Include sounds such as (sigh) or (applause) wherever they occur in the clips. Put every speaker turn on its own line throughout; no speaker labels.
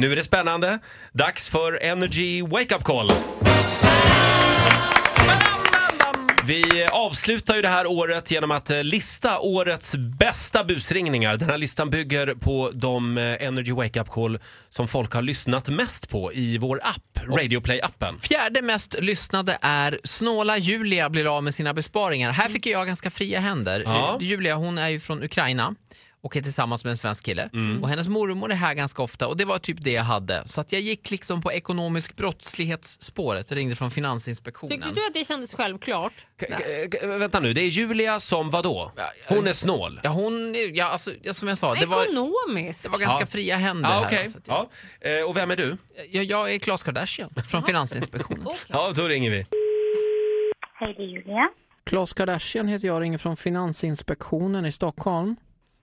Nu är det spännande. Dags för Energy Wake Up Call. Vi avslutar ju det här året genom att eh, lista årets bästa busringningar. Den här listan bygger på de eh, Energy Wake Up Call som folk har lyssnat mest på i vår app, Radioplay-appen.
Fjärde mest lyssnade är Snåla Julia blir av med sina besparingar. Här fick jag ganska fria händer.
Ja.
Eh, Julia hon är ju från Ukraina och är tillsammans med en svensk kille.
Mm.
Och hennes mormor är här ganska ofta och det var typ det jag hade. Så att jag gick liksom på ekonomisk brottslighetsspåret. Jag ringde från
Tyckte
Finansinspektionen.
du att det kändes självklart?
K- k- k- vänta nu, det är Julia som vadå? Hon är snål.
Ja, hon, är- ja, alltså, ja, som jag sa, det var,
Ekonomiskt?
det var ganska
Ja.
fria händer
Ja,
här.
okej.
Så att jag,
Ja. Eh, Och vem är du?
jag, jag är Klas Kardashian från (laughs) Finansinspektionen.
Ja, då ringer vi.
Hej, det är Julia.
Klas Kardashian heter jag och ringer från Finansinspektionen i Stockholm.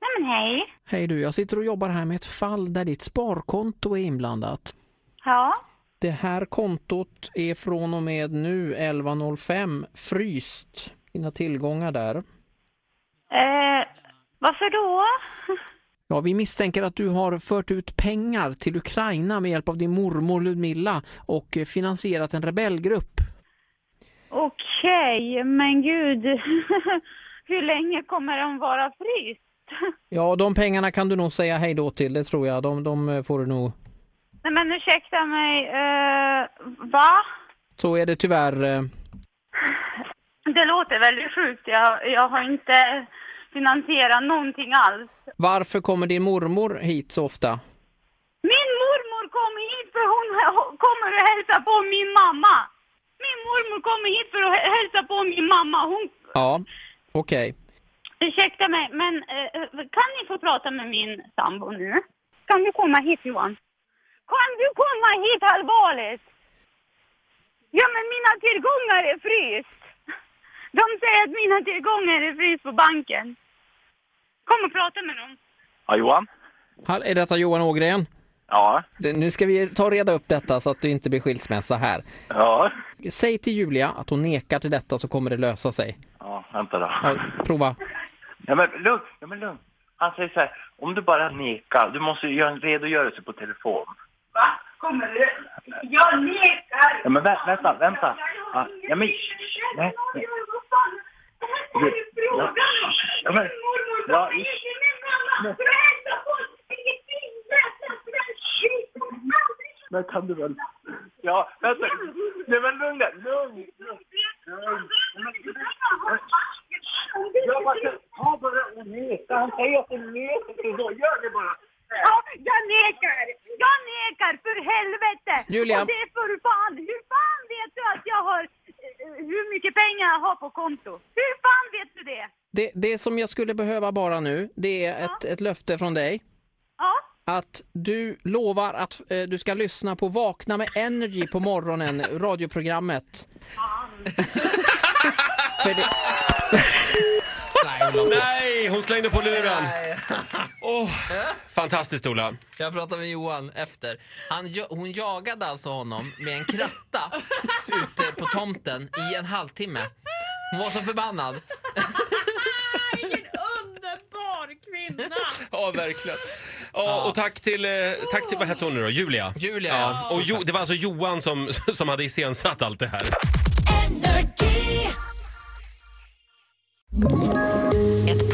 Nej, men hej.
Hej du, jag sitter och jobbar här med ett fall där ditt sparkonto är inblandat.
Ja,
Det här kontot är från och med nu 11.05 fryst. Dina tillgångar där.
eh, varför då?
Ja, vi misstänker att du har fört ut pengar till Ukraina med hjälp av din mormor Ludmilla och eh, finansierat en rebellgrupp.
Okej, men gud. (laughs) Hur länge kommer den vara fryst? (laughs)
Ja, de pengarna kan du nog säga hej då till, det tror jag. De, de eh, får du nog.
Nej, men ursäkta mig. Eh, va?
Så är det tyvärr. eh.
Det låter väldigt sjukt. Jag, jag har inte finansierat någonting alls.
Varför kommer din mormor hit så ofta?
Min mormor kommer hit för hon kommer att hälsa på min mamma. Min mormor kommer hit för att hälsa på min mamma. Hon,
Ja, okej.
Ursäkta mig, men eh, kan ni få prata med min sambo nu? Kan du komma hit Johan? Kan du komma hit allvarligt? Ja men mina tillgångar är fryst. De säger att mina tillgångar är fryst på banken. Kom och prata med dem.
Ja, Johan?
Här Är detta Johan Ågren?
Ja.
Det- Nu ska vi ta och reda upp detta så att det inte blir skilsmässa här.
Ja.
Säg till Julia att hon nekar till detta så kommer det lösa sig.
Ja, vänta då.
Ja, prova.
Ja, men lugn. Ja, men lugn. Han säger så här, om du bara nekar, du måste ju göra en redogörelse på telefon.
Va? Kommer du? Jag nekar!
Ja, men vä- vänta, vänta. Ja, ja, men- nej, nej. Du- ja. Ja, men- ja, i- Men kan du väl? Ja, vänta. Nej, men lugn där. Lugn. lugn. Jag bara, ta bara och neka. Han säger att du neker. Då gör det bara.
Ja, jag nekar! Jag nekar, för helvete!
Julia.
Och det är för fan! Hur fan vet du att jag har... eh, Hur mycket pengar jag har på konto? Hur fan vet du det?
Det, det som jag skulle behöva bara nu, det är ett, ett löfte från dig.
Ja,
Att du lovar att eh, du ska lyssna på Vakna med Energy på morgonen, radioprogrammet. För det,
Nej, hon slängde på luren. Åh, fantastiskt Ola.
Jag pratade med Johan efter. Han, jo- hon jagade alltså honom med en kratta ute på tomten i en halvtimme. Hon var så förbannad.
Underbar kvinna!
(laughs) Ja, verkligen. Ja, och tack till, eh, tack till, vad hette hon nu då? Julia?
Julia,
Ja.
ja.
Och jo, det var alltså Johan som, (laughs) som hade iscensatt allt det här.
Ett